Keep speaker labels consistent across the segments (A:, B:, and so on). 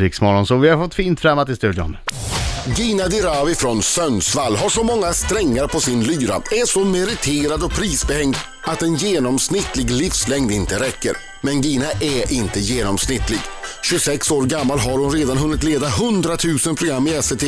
A: Riksmorgon, så vi har fått fint främmat i studion.
B: Gina Dirawi från Sundsvall har så många strängar på sin lyra, är så meriterad och prisbehängd att en genomsnittlig livslängd inte räcker. Men Gina är inte genomsnittlig. 26 år gammal har hon redan hunnit leda 100 000 program i SVT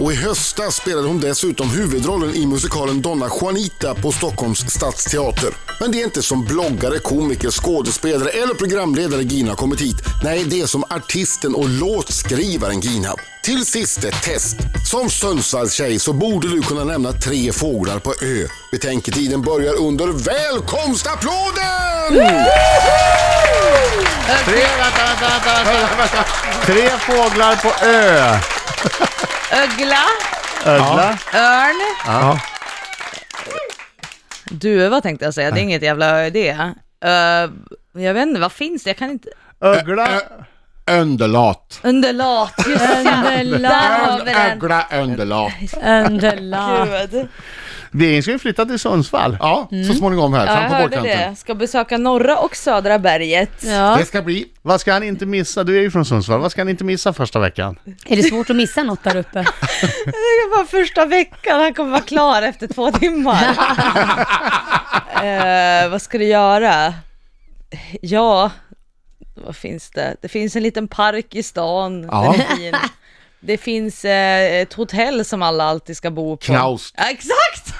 B: och i höstas spelade hon dessutom huvudrollen i musikalen Donna Juanita på Stockholms stadsteater. Men det är inte som bloggare, komiker, skådespelare eller programledare Gina har kommit hit. Nej, det är som artisten och låtskrivaren Gina. Till sist ett test. Som Sundsvallstjej så borde du kunna nämna tre fåglar på ö. Betänketiden börjar under välkomstapplåden!
A: Tre, vänta, vänta, vänta, vänta, vänta. Tre fåglar på ö.
C: Ögla,
A: Ödla.
C: örn,
A: Ja.
C: duva tänkte jag säga. Det är inget jävla idé. Ö, jag vet inte, vad finns det? Jag kan inte...
A: Ögla.
D: Underlat.
C: Undulat, just det. Där har vi den.
D: Ögla underlat.
E: Underlag.
C: Gud.
A: Regeringen ska ju flytta till Sundsvall.
D: Ja, så småningom här.
C: Mm. Ja, jag
D: Fram på
C: hörde
D: vårkanten.
C: det. Ska besöka norra och södra berget.
E: Ja.
D: Det ska bli.
A: Vad ska han inte missa? Du är ju från Sundsvall. Vad ska han inte missa första veckan?
E: Är det svårt att missa något där uppe?
C: Det var första veckan, han kommer vara klar efter två timmar. eh, vad ska du göra? Ja, vad finns det? Det finns en liten park i stan,
D: Ja.
C: den är fin. Det finns eh, ett hotell som alla alltid ska bo på.
D: Knaust.
C: Ja, exakt!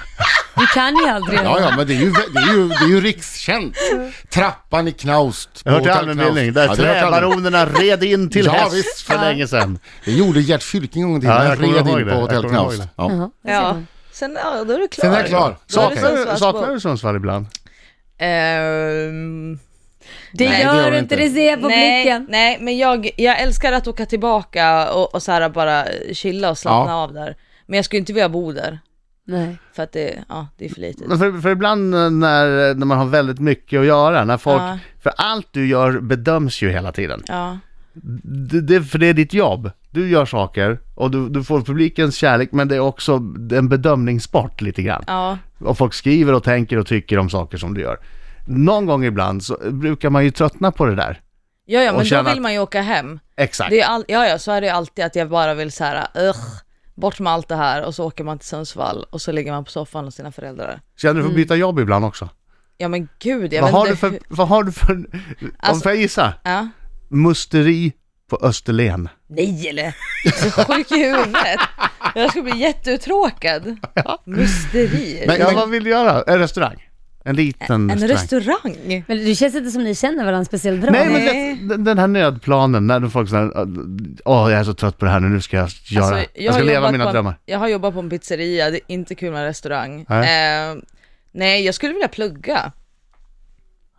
E: Du kan ju aldrig.
D: Ja, ja, men det är ju, det är ju, det är ju rikskänt. Trappan i Knaust. på
A: Jag har hört till
D: Hotell
A: allmänbildning,
D: Knaust.
A: där
D: Ja, det har jag hört allmän-
A: träbaronerna red in till
D: Ja,
A: häst
D: visst.
A: för länge sedan.
D: Det gjorde Gert Fylking en gång i tiden.
A: Ja, jag
D: Han
A: kommer
D: red
A: ihåg
D: in
A: det.
D: på
A: Jag
D: Hotell
A: kommer ihåg
D: Knaust.
A: det.
D: Ja.
E: Jaha, där ser
C: Ja.
E: man.
C: Sen, ja, då är du klar.
D: Sen är jag klar.
C: Då är det
D: Okej.
A: Saknar,
C: Sundsvallsbo.
A: saknar du Sundsvall ibland?
C: Ehm,
E: Det
D: Nej,
E: gör du inte, det ser jag på
C: nej,
E: blicken.
C: Nej, men jag, jag älskar att åka tillbaka och, och så här bara chilla och slappna
D: Ja.
C: av där. Men jag skulle inte vilja bo där,
E: Nej.
C: för att det, ja, det är för litet.
A: Men för, för ibland eh, när, när man har väldigt mycket att göra, när folk,
C: Ja.
A: för allt du gör bedöms ju hela tiden.
C: Ja.
A: Det, det, för det är ditt jobb. Du gör saker och du, du får publikens kärlek men det är också en bedömningssport lite grann.
C: Ja.
A: Och folk skriver och tänker och tycker om saker som du gör. Någon gång ibland så brukar man ju tröttna på det där.
C: Ja, ja,
A: Och
C: men då
A: känna
C: vill
A: att-
C: man ju åka hem.
A: Exakt.
C: Det är all, ja, ja, så är det ju alltid att jag bara vill så här, ugh, bort med allt det här och så åker man till Sundsvall och så ligger man på soffan hos sina föräldrar.
A: Känner du för att byta jobb ibland också?
C: Ja men gud, Mm. jag
A: Vad
C: vet
A: har,
C: inte
A: du för,
C: hur-
A: vad har du för... Om
C: Alltså-
A: får jag gissa?
C: Ja.
A: Musteri på Österlen.
C: Nej eller? Jag är så sjuk i huvudet. Jag skulle bli jätteuttråkad. Mysteri.
D: Men-
A: Ja, vad vill du göra? En restaurang? En liten
C: En
A: restaurang?
C: restaurang?
E: Men det känns inte som ni känner varandra speciellt bra.
A: Nej, men
C: Nej.
A: det, den- den här nödplanen när folk säger åh jag är så trött på det här nu, nu ska jag göra,
C: Alltså,
A: jag,
C: har
A: ska leva
C: jobbat
A: mina
C: på en,
A: drömmar.
C: Jag har jobbat på en pizzeria, det är inte kul med en restaurang.
A: Nej.
C: Nej, eh, nej jag skulle vilja plugga.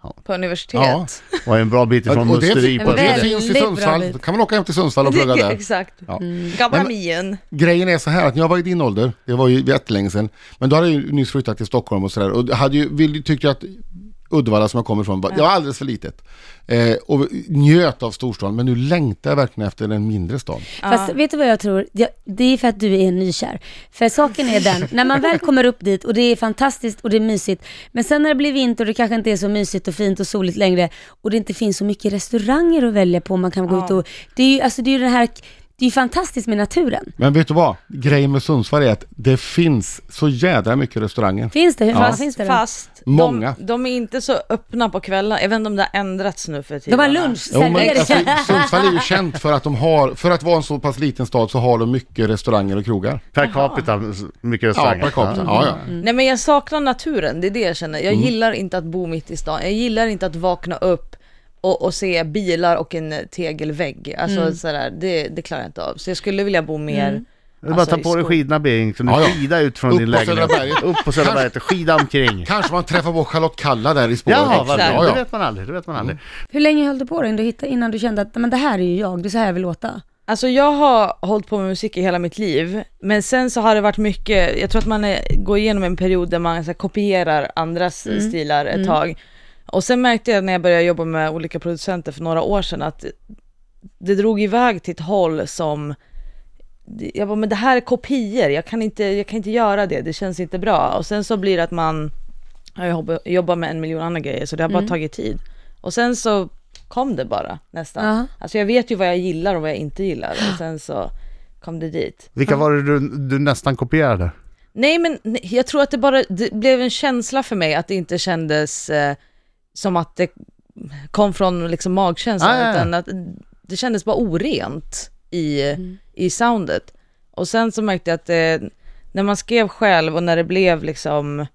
A: Ja.
C: På universitet.
D: Ja.
A: Var ju en bra bit ifrån
D: Och det,
A: musteri på
D: och det
A: Österlen.
E: Väldigt
D: finns i
E: bra
D: Sundsvall.
E: bit. Mm.
D: Då kan man åka hem till Sundsvall och
C: Det-
D: plugga där.
C: Exakt. Mm.
D: Ja.
C: Gamla
D: Men-
C: mien.
D: Grejen är så här att när jag var i din ålder, det var ju jättelänge sedan, men då hade jag ju nyss flyttat till Stockholm och sådär och hade ju, vill, tyckte jag att Uddevalla som jag kommer ifrån, var, det var alldeles för litet. Eh, och njöt av storstan, men nu längtar jag verkligen efter en mindre stad.
E: Fast vet du vad jag tror? Det- Det är för att du är nykär. För saken är den, när man väl kommer upp dit och det är fantastiskt och det är mysigt, men sen när det blir vinter och det kanske inte är så mysigt och fint och soligt längre och det inte finns så mycket restauranger att välja på, man kan gå ut och... Det är ju, alltså, det är ju den här... Det är ju fantastiskt med naturen.
D: Men vet du vad? Grejen med Sundsvall är att det finns så jädra mycket restauranger.
E: Finns det? Hur många
C: Fast,
E: finns det då?
C: fast
D: Många.
C: De, de är inte så öppna på kvällar. Jag vet inte om det har ändrats nu för tiden.
E: De har lunch,
D: Jo, men, alltså,
E: servering.
D: Sundsvall är ju känt för att de har, för att vara en så pass liten stad så har de mycket restauranger och krogar.
A: Per capita, mycket
D: Ja,
A: restauranger.
D: per capita. Ja, ja.
C: Nej men jag saknar naturen, det är det jag känner. Jag
A: Mm.
C: gillar inte att bo mitt i stan. Jag gillar inte att vakna upp och, och se bilar och en eh, tegelvägg. Alltså
E: Mm.
C: sådär, det, det klarar jag inte av. Så jag skulle vilja bo mer... alltså,
A: Det är bara att ta
C: i
A: på dig
C: skog.
A: skidorna Bering, så du
D: Ja, ja.
A: skida ut från
D: Upp
A: din
D: på
A: lägenhet.
D: Södra berget.
A: Upp på Södra berget och skida omkring.
D: Kanske man träffar på Charlotte Kalla där i spåret.
A: Jaha, vad
C: Exakt.
A: bra.
D: Ja, Mm.
A: Det
D: ja.
A: vet man aldrig, det vet man aldrig.
E: Hur länge höll du på då innan du hittade- innan du kände att men det här är ju jag, det är så här jag vill låta?
C: Alltså jag har hållit på med musik i hela mitt liv, men sen så har det varit mycket, jag tror att man är, går igenom en period där man så här, kopierar andras stilar ett tag. Och sen märkte jag när jag började jobba med olika producenter för några år sedan att det drog iväg till ett håll som, jag bara, men det här är kopior, jag kan inte, jag kan inte göra det, det känns inte bra. Och sen så blir det att man, jag jobbar- jobbar med en miljon andra grejer så det har bara tagit tid. Och sen så kom det bara nästan.
E: Ja.
C: Alltså jag vet ju vad jag gillar och vad jag inte gillar och sen så kom det dit.
A: Vilka var det du, du nästan kopierade?
C: Nej men nej, jag tror att det bara det blev en känsla för mig att det inte kändes eh, som att det kom från liksom magkänslan
A: Ah, ja, ja.
C: utan att det kändes bara orent i,
A: Mm.
C: i soundet. Och sen så märkte jag att eh, när man skrev själv och när det blev liksom eh,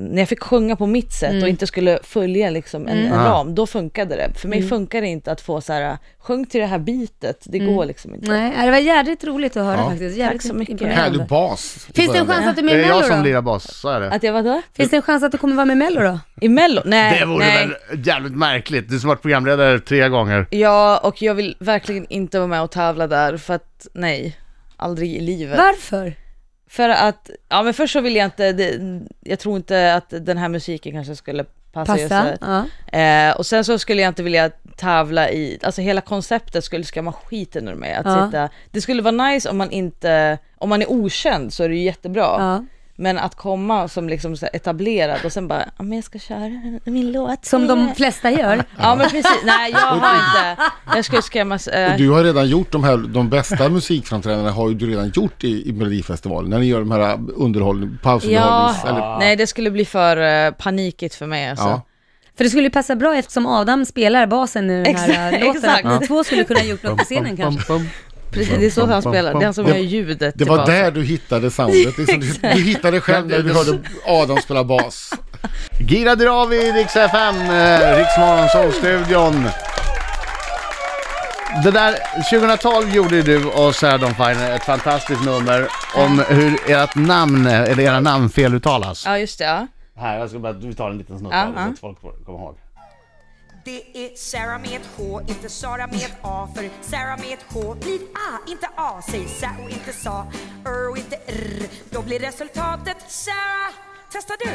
C: när jag fick sjunga på mitt sätt
A: Mm.
C: och inte skulle följa liksom en, en
A: Ah.
C: ram, då funkade det. För mig
A: Mm.
C: funkar det inte att få så här, sjung till det här bitet, det
A: Mm.
C: går liksom inte.
E: Nej, äh, det var jävligt roligt att höra
D: Ja.
E: faktiskt. Jävligt
C: Tack så mycket.
E: imponerande.
D: Härlig bas. i
E: Finns det en
D: början
E: chans att
A: Det
E: du är med i
A: är jag
E: Mello
A: som
E: då?
A: lirar bas, så är det.
C: Att jag vadå?
E: Finns det en chans att du kommer vara med i Mello då?
C: I mello? Nej,
A: Det vore
C: nej.
A: väl jävligt märkligt. Du som varit programledare tre gånger.
C: Ja, och jag vill verkligen inte vara med och tävla där för att nej, aldrig i livet.
E: Varför?
C: För att, ja men först så vill jag inte, det, jag tror inte att den här musiken kanske skulle passa. just
E: Passa?
C: där.
E: Ja.
C: Eh, och sen så skulle jag inte vilja tävla i, alltså hela konceptet skulle skämma skiten ur mig. Att
E: Ja.
C: sitta, det skulle vara nice om man inte, om man är okänd så är det ju jättebra.
E: Ja.
C: Men att komma som liksom så här etablerad och sen bara, ja men jag ska köra min låt.
E: Som de flesta gör.
C: Ja men precis, nej jag har inte, jag skulle skrämmas. eh,
D: Och Du har redan gjort de här, de bästa musikframträdandena har ju du redan gjort i, i Melodifestivalen. När ni gör de här äh, underhåll, pausunderhållnings... Eller,
C: nej det skulle bli för eh, panikigt för mig alltså.
D: ja.
E: För det skulle ju passa bra eftersom Adam spelar basen i den här
C: Exakt,
E: eh, låten.
C: exakt.
E: Att ni två skulle kunna ha gjort något på scenen kanske.
C: Precis, det är så han spelar, det är han som gör ljudet
D: Det var
C: tillbaka.
D: där du hittade soundet. Liksom. Du, du hittade själv när du hörde Adam spela bas.
A: Gira Dirawi, Rix FM, eh, Rix Morgonzoo-studion. Det där, 2012 gjorde du och Sarah Fine ett fantastiskt nummer om hur ert namn, eller era namn feluttalas.
C: Ja just det, ja.
A: Här, jag ska bara, vi tar en liten snutt
C: Ja,
A: av det
C: ja.
A: så att folk får- kommer ihåg.
F: Det är Sarah med ett H, inte Sara med ett A För Sarah med ett H blir A, inte A Säg Sä och inte Sa, Ör och inte R Då blir resultatet Sarah Testa du!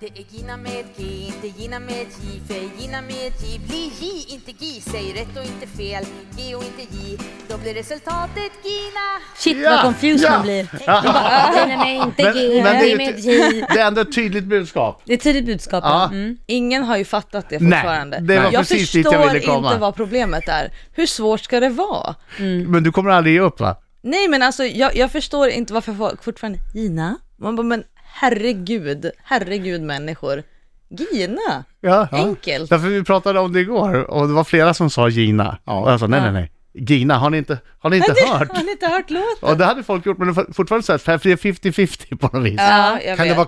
G: Det är Gina med G, inte Gina med J, för Gina med J blir J, inte G. Säg rätt och inte fel, G och inte J. Då blir resultatet Gina.
E: Shit
A: Ja,
E: vad confused
A: ja.
E: man blir. Man bara, "Okej, nej men inte
A: Men-
E: G,
A: men det är
E: det
A: ju
E: är med J.
A: Det är ändå ett tydligt budskap.
E: Det är ett tidigt budskap.
A: Ja.
E: ja. Mm.
C: Ingen har ju fattat det fortfarande.
A: det var
C: jag
A: precis dit jag
C: förstår
A: ville komma.
C: inte vad problemet är. Hur svårt ska det vara?
A: Men du kommer aldrig ge upp va?
C: Nej men alltså jag, jag förstår inte varför folk fortfarande, Gina? Man bara, men herregud, herregud människor. Gina,
A: Ja.
C: enkelt.
A: Därför vi pratade om det igår och det var flera som sa Gina.
D: Ja.
A: Och jag sa nej, nej, nej. Gina, har ni inte, har ni inte hört?
C: Har ni inte hört låten?
A: Och det hade folk gjort, men det var fortfarande så här, det är 50-50 på något vis.
C: Ja, jag
D: Kan det
C: vet.
D: vara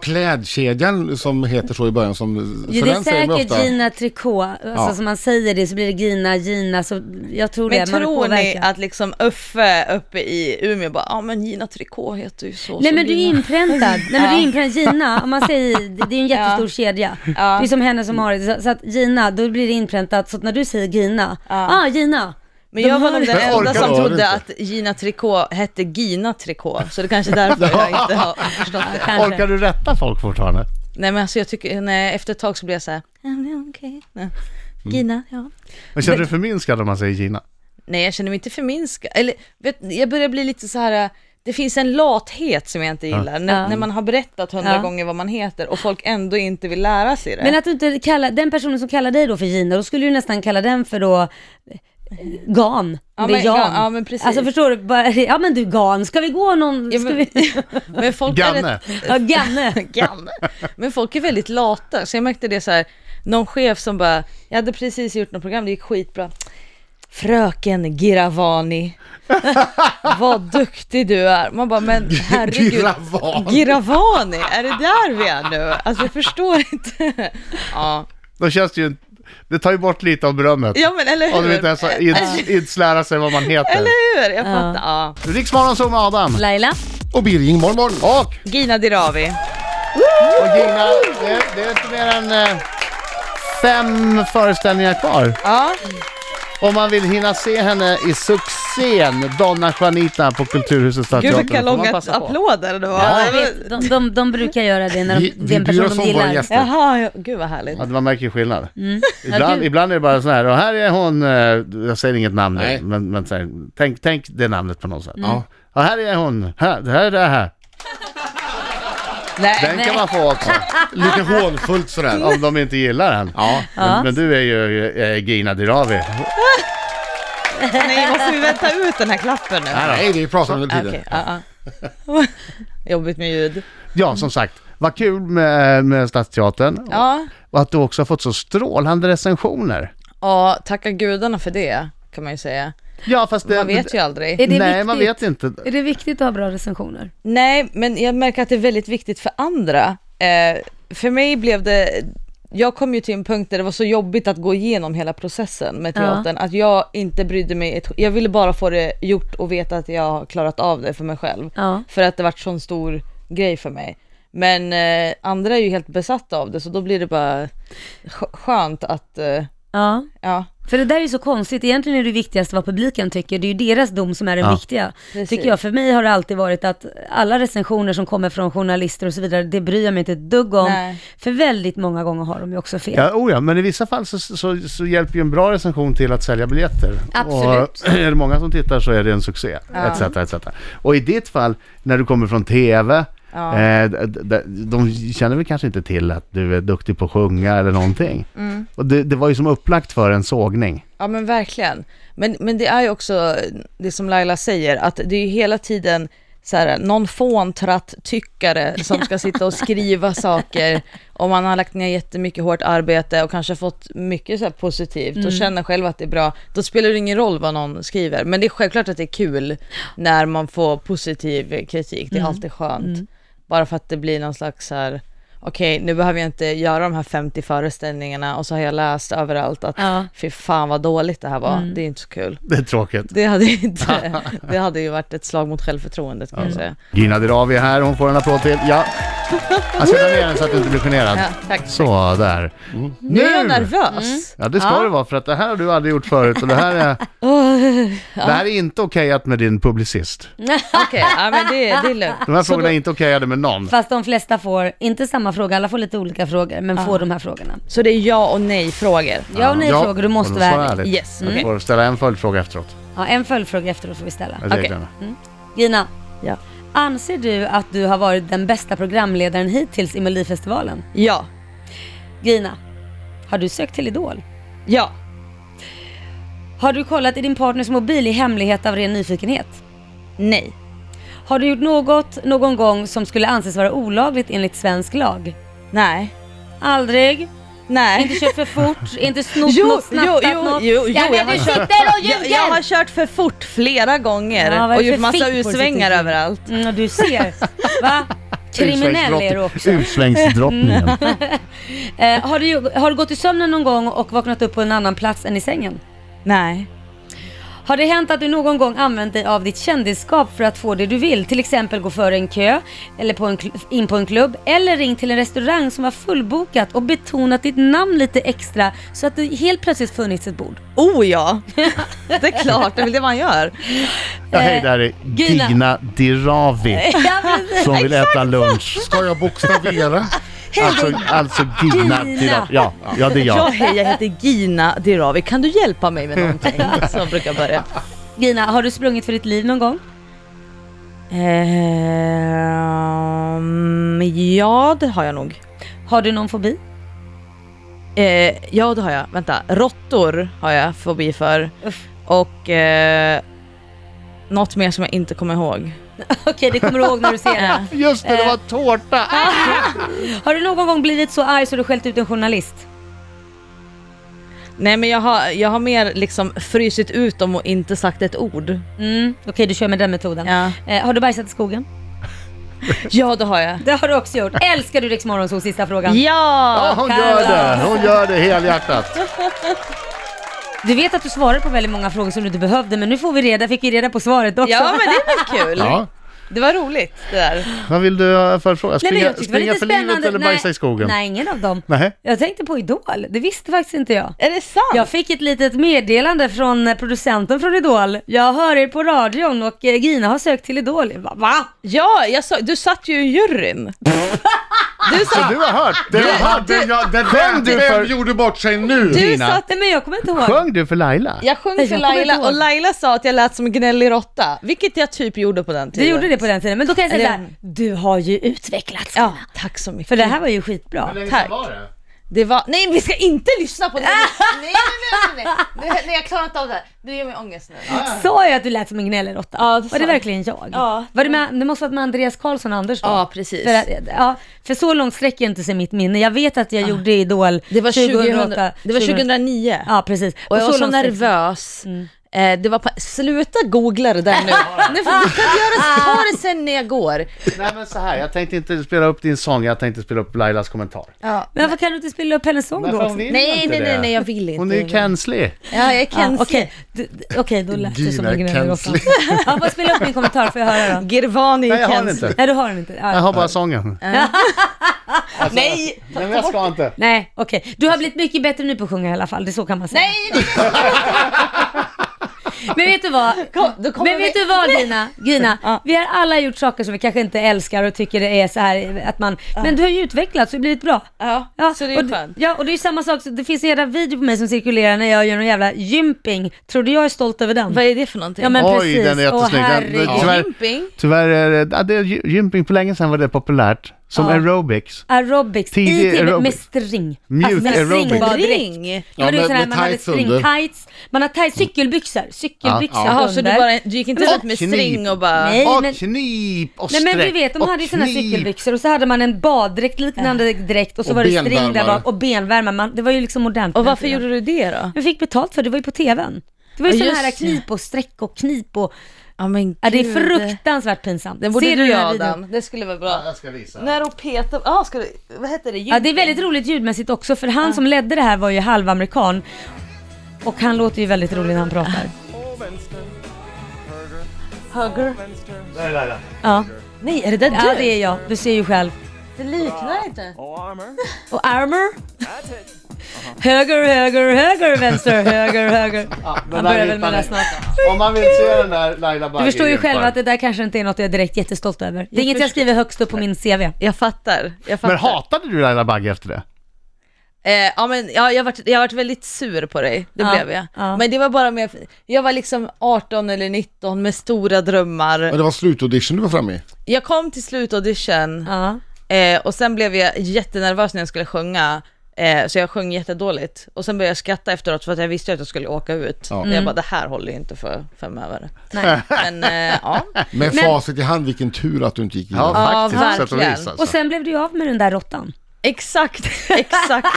D: klädkedjan som heter så i början som
E: Jo, det är
D: Sven säger mig
E: säkert
D: ofta?
E: Gina Tricot. Alltså
D: Ja.
E: som man säger det så blir det Gina, Gina. Så jag tror
C: Men
E: det, man är
C: tror ni
E: påverkad.
C: att liksom Uffe uppe i Umeå bara, ja ah, men Gina Tricot heter ju så
E: Nej
C: som
E: men du är
C: Gina."
E: inpräntad. Nej men du är inpräntad. Gina, om man säger det, det är en jättestor kedja. Det är som henne som har det. Så, så att Gina, då blir det inpräntat. Så att när du säger Gina, ah Gina.
C: Men
E: De
C: jag var
E: har
C: nog den
E: det.
D: Jag
C: enda
D: orkar
C: som
D: bara
C: trodde
D: inte.
C: att Gina Tricot hette Gina Tricot, så det kanske är därför jag inte har förstått det.
E: Kanske.
A: Orkar du rätta folk fortfarande?
C: Nej men alltså jag tycker, nej efter ett tag så blir jag så här, "Ja, men okej. Nej.
D: Mm.
C: Gina, ja.
A: Men känner du dig förminskad om man säger Gina?
C: Nej jag känner mig inte förminskad, eller vet, jag börjar bli lite så här, äh, det finns en lathet som jag inte gillar, när, när man har berättat hundra
E: Ja.
C: gånger vad man heter och folk ändå inte vill lära sig det.
E: Men att du inte kallar, den personen som kallar dig då för Gina, då skulle du nästan kalla den för då eh, Gan.
C: Ja,
E: det är
C: men
E: Jan.
C: Gan, ja, men precis.
E: Alltså förstår du, bara, ja men du Gan, ska vi gå någon,
C: Ja,
E: ska
C: men,
E: vi,
C: men folk är
A: Ganne?
C: rätt,
E: ja Ganne.
C: Ganne. Men folk är väldigt lata, så jag märkte det så här. någon chef som bara, jag hade precis gjort något program, det gick skitbra. Fröken Giravani, vad duktig du är. Man bara, men herregud.
D: Giravani.
C: Giravani, är det där vi är nu? Alltså jag förstår inte. Ja,
A: Då känns det ju, det tar ju bort lite av berömmet.
C: ja men eller hur?
A: Om du inte ens har ins- ins- lära sig vad man heter.
C: Eller hur? Jag fattar. Ja.
A: Riksmorgon som med Adam
E: Laila,
D: Och Birging morgon.
A: och,
C: Gina Dirawi.
A: och Gina. Det, det är inte mer än eh, fem föreställningar kvar.
C: Ja.
A: Om man vill hinna se henne i succén Donna Juanita på Kulturhuset
C: Gud
A: Stadsteatern.
C: vilka
A: får man
C: långa
A: passa på.
C: applåder det var.
E: jag vet, de, de, de brukar göra det när de,
D: Vi,
E: det är
D: vi
E: en
D: bryr
E: person
D: oss
E: de
D: om våra
E: gillar.
D: gäster.
C: Jaha, ja, gud vad härligt.
A: Ja, man märker ju skillnad.
E: Ja,
A: Ibland,
E: du-
A: ibland är det bara så här, och här är hon, eh, jag säger inget namn nu,
D: Nej.
A: men, men så här, tänk, tänk Mm. det namnet på något sätt.
D: Ja.
A: Ja, här är hon, här, det här är det här.
C: Nej.
A: Den kan man få också.
D: Lite hånfullt sådär.
A: Om de inte gillar den.
D: Ja.
A: Men, men du är ju eh, Gina Dirawi.
C: Nej, måste vi vänta ut den här klappen nu?
D: Nej, vi pratar om det
C: Ah,
D: tiden.
C: Okej, ja, ja. Jobbigt med ljud.
A: Ja, som sagt. Vad kul med, med Stadsteatern.
C: Ja.
A: Och att du också har fått så strålande recensioner.
C: ja, tacka gudarna för det kan man ju säga.
A: Ja, fast det...
C: Man vet ju aldrig.
E: Är det
A: Nej,
E: viktigt?
A: man vet inte.
E: Är det viktigt att ha bra recensioner?
C: Nej, men jag märker att det är väldigt viktigt för andra. Eh, för mig blev det, jag kom ju till en punkt där det var så jobbigt att gå igenom hela processen med
E: Ja.
C: teatern, att jag inte brydde mig, ett, jag ville bara få det gjort och veta att jag har klarat av det för mig själv.
E: Ja.
C: För att det vart sån stor grej för mig. Men eh, andra är ju helt besatta av det, så då blir det bara sk- skönt att, eh,
E: Ja.
C: ja.
E: För det där är ju så konstigt, egentligen är det viktigaste vad publiken tycker, det är ju deras dom som är den
A: Ja.
E: viktiga.
C: Precis.
E: Tycker jag, för mig har det alltid varit att alla recensioner som kommer från journalister och så vidare, det bryr jag mig inte ett dugg om.
C: Nej.
E: För väldigt många gånger har de ju också fel.
A: Ja, oh ja, men i vissa fall så, så, så hjälper ju en bra recension till att sälja biljetter.
E: Absolut.
A: Och är det många som tittar så är det en succé. Etc, etc. Och i ditt fall, när du kommer från TV,
C: Ja.
A: eh, d- d- de känner väl kanske inte till att du är duktig på att sjunga eller någonting.
C: Mm.
A: Och det, det var ju som upplagt för en sågning.
C: Ja men verkligen. Men, men det är ju också det som Laila säger, att det är ju hela tiden så här, någon fåntratt-tyckare som ska sitta och skriva saker och man har lagt ner jättemycket hårt arbete och kanske fått mycket så här positivt och känner själv att det är bra. Då spelar det ingen roll vad någon skriver, men det är självklart att det är kul när man får positiv kritik. Det är alltid skönt. Bara för att det blir någon slags så här, okej nu behöver jag inte göra de här 50 föreställningarna och så har jag läst överallt att
E: Ja.
C: Fy fan vad dåligt det här var, det är inte så kul.
A: Det är tråkigt.
C: Det hade, ju inte, det hade ju varit ett slag mot självförtroendet kan jag säga.
A: Gina Dirawi är här, hon får en applåd till. Ja. Jag ska ta ner den så att du inte blir generad.
C: Ja, tack.
A: Så där.
C: Nu Mm. är jag nervös.
A: Ja, det ska
C: Ja.
A: det vara för att det här har du aldrig gjort förut och det här är, det här är inte okejat med din publicist.
C: Okej, ja, men det, är- det är lugnt.
A: De här frågorna är inte okejade med någon.
E: Fast de flesta får, inte samma fråga, alla får lite olika frågor, men får de här frågorna.
C: Så det är ja och nej frågor.
E: Ja och nej frågor, du måste
A: och
E: vara mm.
A: de får
E: ärlig.
A: ärligt.
C: Yes,
A: Du får ställa en följdfråga efteråt.
E: Ja, en följdfråga efteråt får vi ställa.
A: Med
C: Okej.
A: reglerna.
E: Gina,
C: Ja.
E: anser du att du har varit den bästa programledaren hittills i Melodifestivalen?
C: Ja,
E: Gina, har du sökt till Idol?
C: ja,
E: Har du kollat i din partners mobil i hemlighet av ren nyfikenhet?
C: nej,
E: Har du gjort något någon gång som skulle anses vara olagligt enligt svensk lag?
C: nej,
E: Aldrig, inte
C: nej.
E: kört för fort, inte snott något,
C: jo,
E: snattat
C: jo,
E: något.
C: jo, jo,
E: ja, men
C: jag har
E: du
C: kört.
E: sitter och
C: Jag, jag har
E: ljuger!
C: kört för fort flera gånger
E: Ja, vad är
C: och
E: det
C: gjort
E: för
C: massa
E: fint på
C: U-svängar
E: sitt-
C: överallt.
E: Mm, du ser, va? Kriminell är du också.
A: Utsvängsdrottningen.
E: Eh, har, du, ju- har du gått i sömnen någon gång och vaknat upp på en annan plats än i sängen?
C: Nej,
E: Har det hänt att du någon gång använt dig av ditt kändisskap för att få det du vill? Till exempel gå före en kö, eller på en kl- in på en klubb, eller ring till en restaurang som var fullbokat och betonat ditt namn lite extra så att det helt plötsligt funnits ett bord.
C: oh ja, det är klart, det är väl det man gör.
A: Ja, hej, där är
E: Eh, Gina.
A: Gina Dirawi
E: Ja, precis.
A: som vill äta lunch.
D: Ska jag bokstavera?
A: Alltså, alltså Gina
E: Gina.
A: Dirawi. Ja, ja, det är
C: Ja,
A: jag.
C: hej, jag heter Gina Dirawi. Kan du hjälpa mig med någonting? Så brukar jag börja.
E: Gina, har du sprungit för ditt liv någon gång?
C: Ehm, ja, det har jag nog.
E: Har du någon fobi?
C: Eh, ja, det har jag. Vänta. Råttor har jag fobi för.
E: Uff.
C: Och eh, något mer som jag inte kommer ihåg.
E: Okej, det kommer du ihåg när du ser det.
A: Just det, det var tårta!
E: Har du någon gång blivit så arg så du skällt ut en journalist?
C: Nej, men jag har, jag har mer liksom frysit ut dem och inte sagt ett ord.
E: Mm. Okej, du kör med den metoden.
C: Ja,
E: Eh, har du bajsat i skogen?
C: ja det har jag.
E: Det har du också gjort. Älskar du Rix Morgonzoo? Sista frågan.
A: Ja,
C: Ja!
A: hon gör det! Hon gör det helhjärtat.
E: Du vet att du svarade på väldigt många frågor som du inte behövde, men nu får vi reda, fick vi reda på svaret också.
C: Ja, men det är väl kul?
D: Ja.
C: Det var roligt det där.
A: Vad vill du ha för fråga?
E: Nej, men
A: Springa,
E: jag tyckte det
A: springa
E: var lite
A: för livet
E: spännande.
A: eller bajsa
E: Nej,
A: i skogen?
E: Nej, ingen av dem.
A: Nej.
E: Jag tänkte på Idol, det visste faktiskt inte jag.
C: Är det sant?
E: Jag fick ett litet meddelande från eh, producenten från Idol. Jag hör er på radion och eh, Gina har sökt till Idol. Jag bara, Va?
C: Ja, jag sa, du satt ju i juryn. Du
A: Så
C: sa...
A: du har hört?
D: Den
C: Du-
D: hade
C: du-
D: jag, den
A: Sjöng du
D: där,
A: för-
D: vem gjorde bort sig nu?
C: Du
A: Tina.
C: satt...
E: Nej men jag kommer inte ihåg.
A: Sjöng du för Laila?
C: Jag sjöng
E: Nej,
C: för
E: jag kommer inte
C: Laila
E: ihåg.
C: och Laila sa att jag lät som en gnällig råtta, vilket jag typ gjorde på den
E: Du
C: tiden.
E: gjorde det på den tiden. Men då kan jag säga
C: Det-
E: såhär, du har ju utvecklats.
C: Ja, tack så mycket.
E: För det här var ju skitbra.
C: Tack. Det var... Nej, vi ska inte lyssna på det! nej, nej, nej, nej, nej. Nu- nej, jag klarar inte av det här. Du ger mig ångest nu.
E: Sa jag att du lät som en gnällig råtta?
C: Ja, det
E: Var
C: sa
E: det
C: du.
E: verkligen jag?
C: Ja.
E: Var det, med, det måste varit med Andreas Karlsson och Anders då?
C: Ja, precis.
E: För, att- ja, för så långt sträcker inte sig mitt minne. Jag vet att jag gjorde Idol
C: Ah. Det var,
E: 2008.
C: 2000, det var 2009.
E: Ja, precis.
C: Och jag var så
E: långt sträcker-
C: nervös. Eh, det var pa- Sluta googla det där nu. nu får, du kan göra, ta det sen när jag går.
A: Nej men så här, jag tänkte inte spela upp din sång, jag tänkte spela upp Lailas kommentar.
E: Men varför kan du inte spela upp hennes sång
A: Men
E: då?
A: för
E: också?
A: hon vill
C: Nej,
A: inte
C: nej, nej,
A: det.
C: nej, jag vill inte.
A: Hon är ju cancelig.
C: Ja, jag är
E: Ja,
C: cancel.
E: Ah, Okej, Du- d- okej, då lät du som en
D: Gina
E: gnällig råtta.
D: Kensley.
E: Ja, får jag spela upp min kommentar för jag höra då?
C: Girvani
A: Nej, jag
C: är
A: har den
C: cancel.
A: inte.
E: Nej, du har den inte. Ja.
A: Jag har bara sången.
C: Nej!
A: Nej men jag ska inte.
E: Nej, okej. Du har blivit mycket bättre nu på att sjunga i alla fall, det är så kan man säga.
C: Nej, nej, nej.
E: Men vet du vad?
C: Kom, då kommer
E: Men vet
C: vi-
E: du vad Gina? Gina
C: Ja.
E: Vi har alla gjort saker som vi kanske inte älskar och tycker det är så här att man... Men du har ju utvecklats och blivit bra.
C: Ja, så det är
E: och,
C: ju
E: d-
C: skönt.
E: Ja, och det är ju samma sak. så Det finns en jävla video på mig som cirkulerar när jag gör någon jävla gymping. Tror du jag är stolt över den?
C: Vad är det för någonting?
E: Ja men
A: Oj,
E: precis.
A: den är
E: Åh,
A: jättesnygg. Den-
E: herregud.
A: den- tyvärr-
C: Gymping?
A: Tyvärr är det, ja, det är gy- gymping på länge sedan var det populärt. Som
E: Ja.
A: aerobics.
E: Aerobics,
A: Tidig
E: i TV, med
A: aerobics.
E: string. Alltså,
A: Mjuk
E: med
A: aerobics.
E: stringbadräkt.
C: Ring?
E: Ja, men det är
D: med-
E: sådär,
D: med
E: man hade
D: tights under.
E: stringtights, man har tights, cykelbyxor, cykelbyxor
D: Ja, ja.
E: under.
C: Jaha, så du, bara, du gick inte
A: Men-
C: ut med string och bara...
E: Nej,
A: Och
E: men-
A: knip och
E: Nej
A: sträck
E: men du vet, de hade ju
A: och
E: sådana
A: knip.
E: cykelbyxor och så hade man en baddräkt liknande dräkt och så
D: Och
E: var det string där
D: benvärmare.
E: bak och benvärmare. Man, det var ju liksom modernt. på
C: Och
E: den
C: varför
E: tiden.
C: gjorde du det då?
E: Jag fick betalt för det, det var ju på tvn. Det var ju
C: Ja,
E: sådana här
C: just det.
E: knip och sträck och knip och...
C: Ja men
E: Ja, det är fruktansvärt pinsamt.
C: Den borde
E: Ser
C: du
E: den
C: göra
E: här videon?
C: Adam, det skulle vara bra.
A: Jag ska visa.
C: När och Peter, ja ska du, vad heter det?
E: Ja, det är väldigt roligt ljudmässigt också för han som ledde det här var ju halvamerikan. Och han låter ju väldigt rolig när han pratar.
C: Hugger.
A: Där är Laila.
E: Ja,
C: Nej är det där
E: ja
C: du?
E: det är jag. Du ser ju själv.
C: Det liknar inte.
E: Och armor. Höger, höger, höger, vänster, höger, höger.
A: Ja, den
E: Han
A: där
E: börjar väl
A: hittar
E: med
A: ni.
E: det snart.
A: Om man vill se den där Laila
E: Du
A: Bagge
E: förstår ju
A: gympar.
E: själv att det där kanske inte är något jag är direkt jättestolt över. Det är inget jag
C: förstår.
E: skriver högst upp på min CV.
C: Jag fattar, jag fattar.
A: Men hatade du Laila Bagge efter det?
C: Eh, ja men ja, jag har varit, jag har varit väldigt sur på dig, det
E: Ja,
C: blev jag.
E: ja.
C: Men det var bara med, jag var liksom 18 eller 19 med stora drömmar.
D: Men det var slutaudition du var framme i.
C: Jag kom till slutaudition
E: Ja.
C: eh, och sen blev jag jättenervös när jag skulle sjunga. Eh, så jag sjöng jättedåligt. Och sen började jag skratta efteråt för att jag visste att jag skulle åka ut.
D: Ja.
C: Jag bara, det här håller ju inte för fem öre.
E: Nej.
C: Men eh, ja.
D: Med facit i hand, vilken tur att du inte gick vidare.
C: Ja,
A: på sätt och vis,
C: verkligen.
A: alltså.
E: Och sen blev du ju av med den där råttan.
C: Exakt, exakt,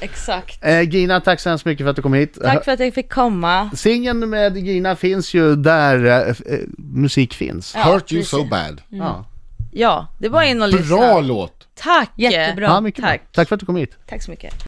C: exakt.
A: Eh, Gina, tack så hemskt mycket för att du kom hit.
C: Tack för att jag fick komma.
A: Singeln med Gina finns ju där eh, f- eh, musik finns.
D: Hurt you so bad.
C: Mm.
A: Ja.
C: Ja, det var in och lyssna.
D: Bra låt!
C: Tack!
E: Jättebra.
A: Ja, mycket bra.
C: Tack.
A: Tack för att du kom hit.
C: Tack så mycket.